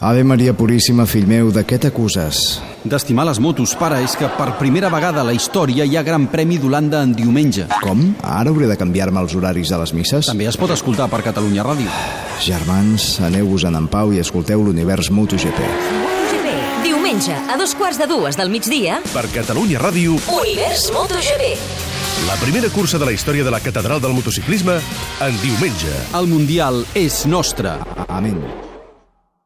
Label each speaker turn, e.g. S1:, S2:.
S1: Ave Maria Puríssima, fill meu, de què t'acuses?
S2: D'estimar les motos, pare, és que per primera vegada a la història hi ha Gran Premi d'Holanda en diumenge.
S1: Com? Ara hauré de canviar-me els horaris de les misses?
S2: També es pot escoltar per Catalunya Ràdio.
S1: Germans, aneu-vos-en en pau i escolteu l'univers MotoGP.
S3: MotoGP. Diumenge, a dos quarts de dues del migdia,
S4: Per Catalunya Ràdio,
S3: Univers MotoGP.
S4: la primera cursa de la història de la Catedral del Motociclisme en diumenge.
S2: El Mundial és nostre.
S1: Amén.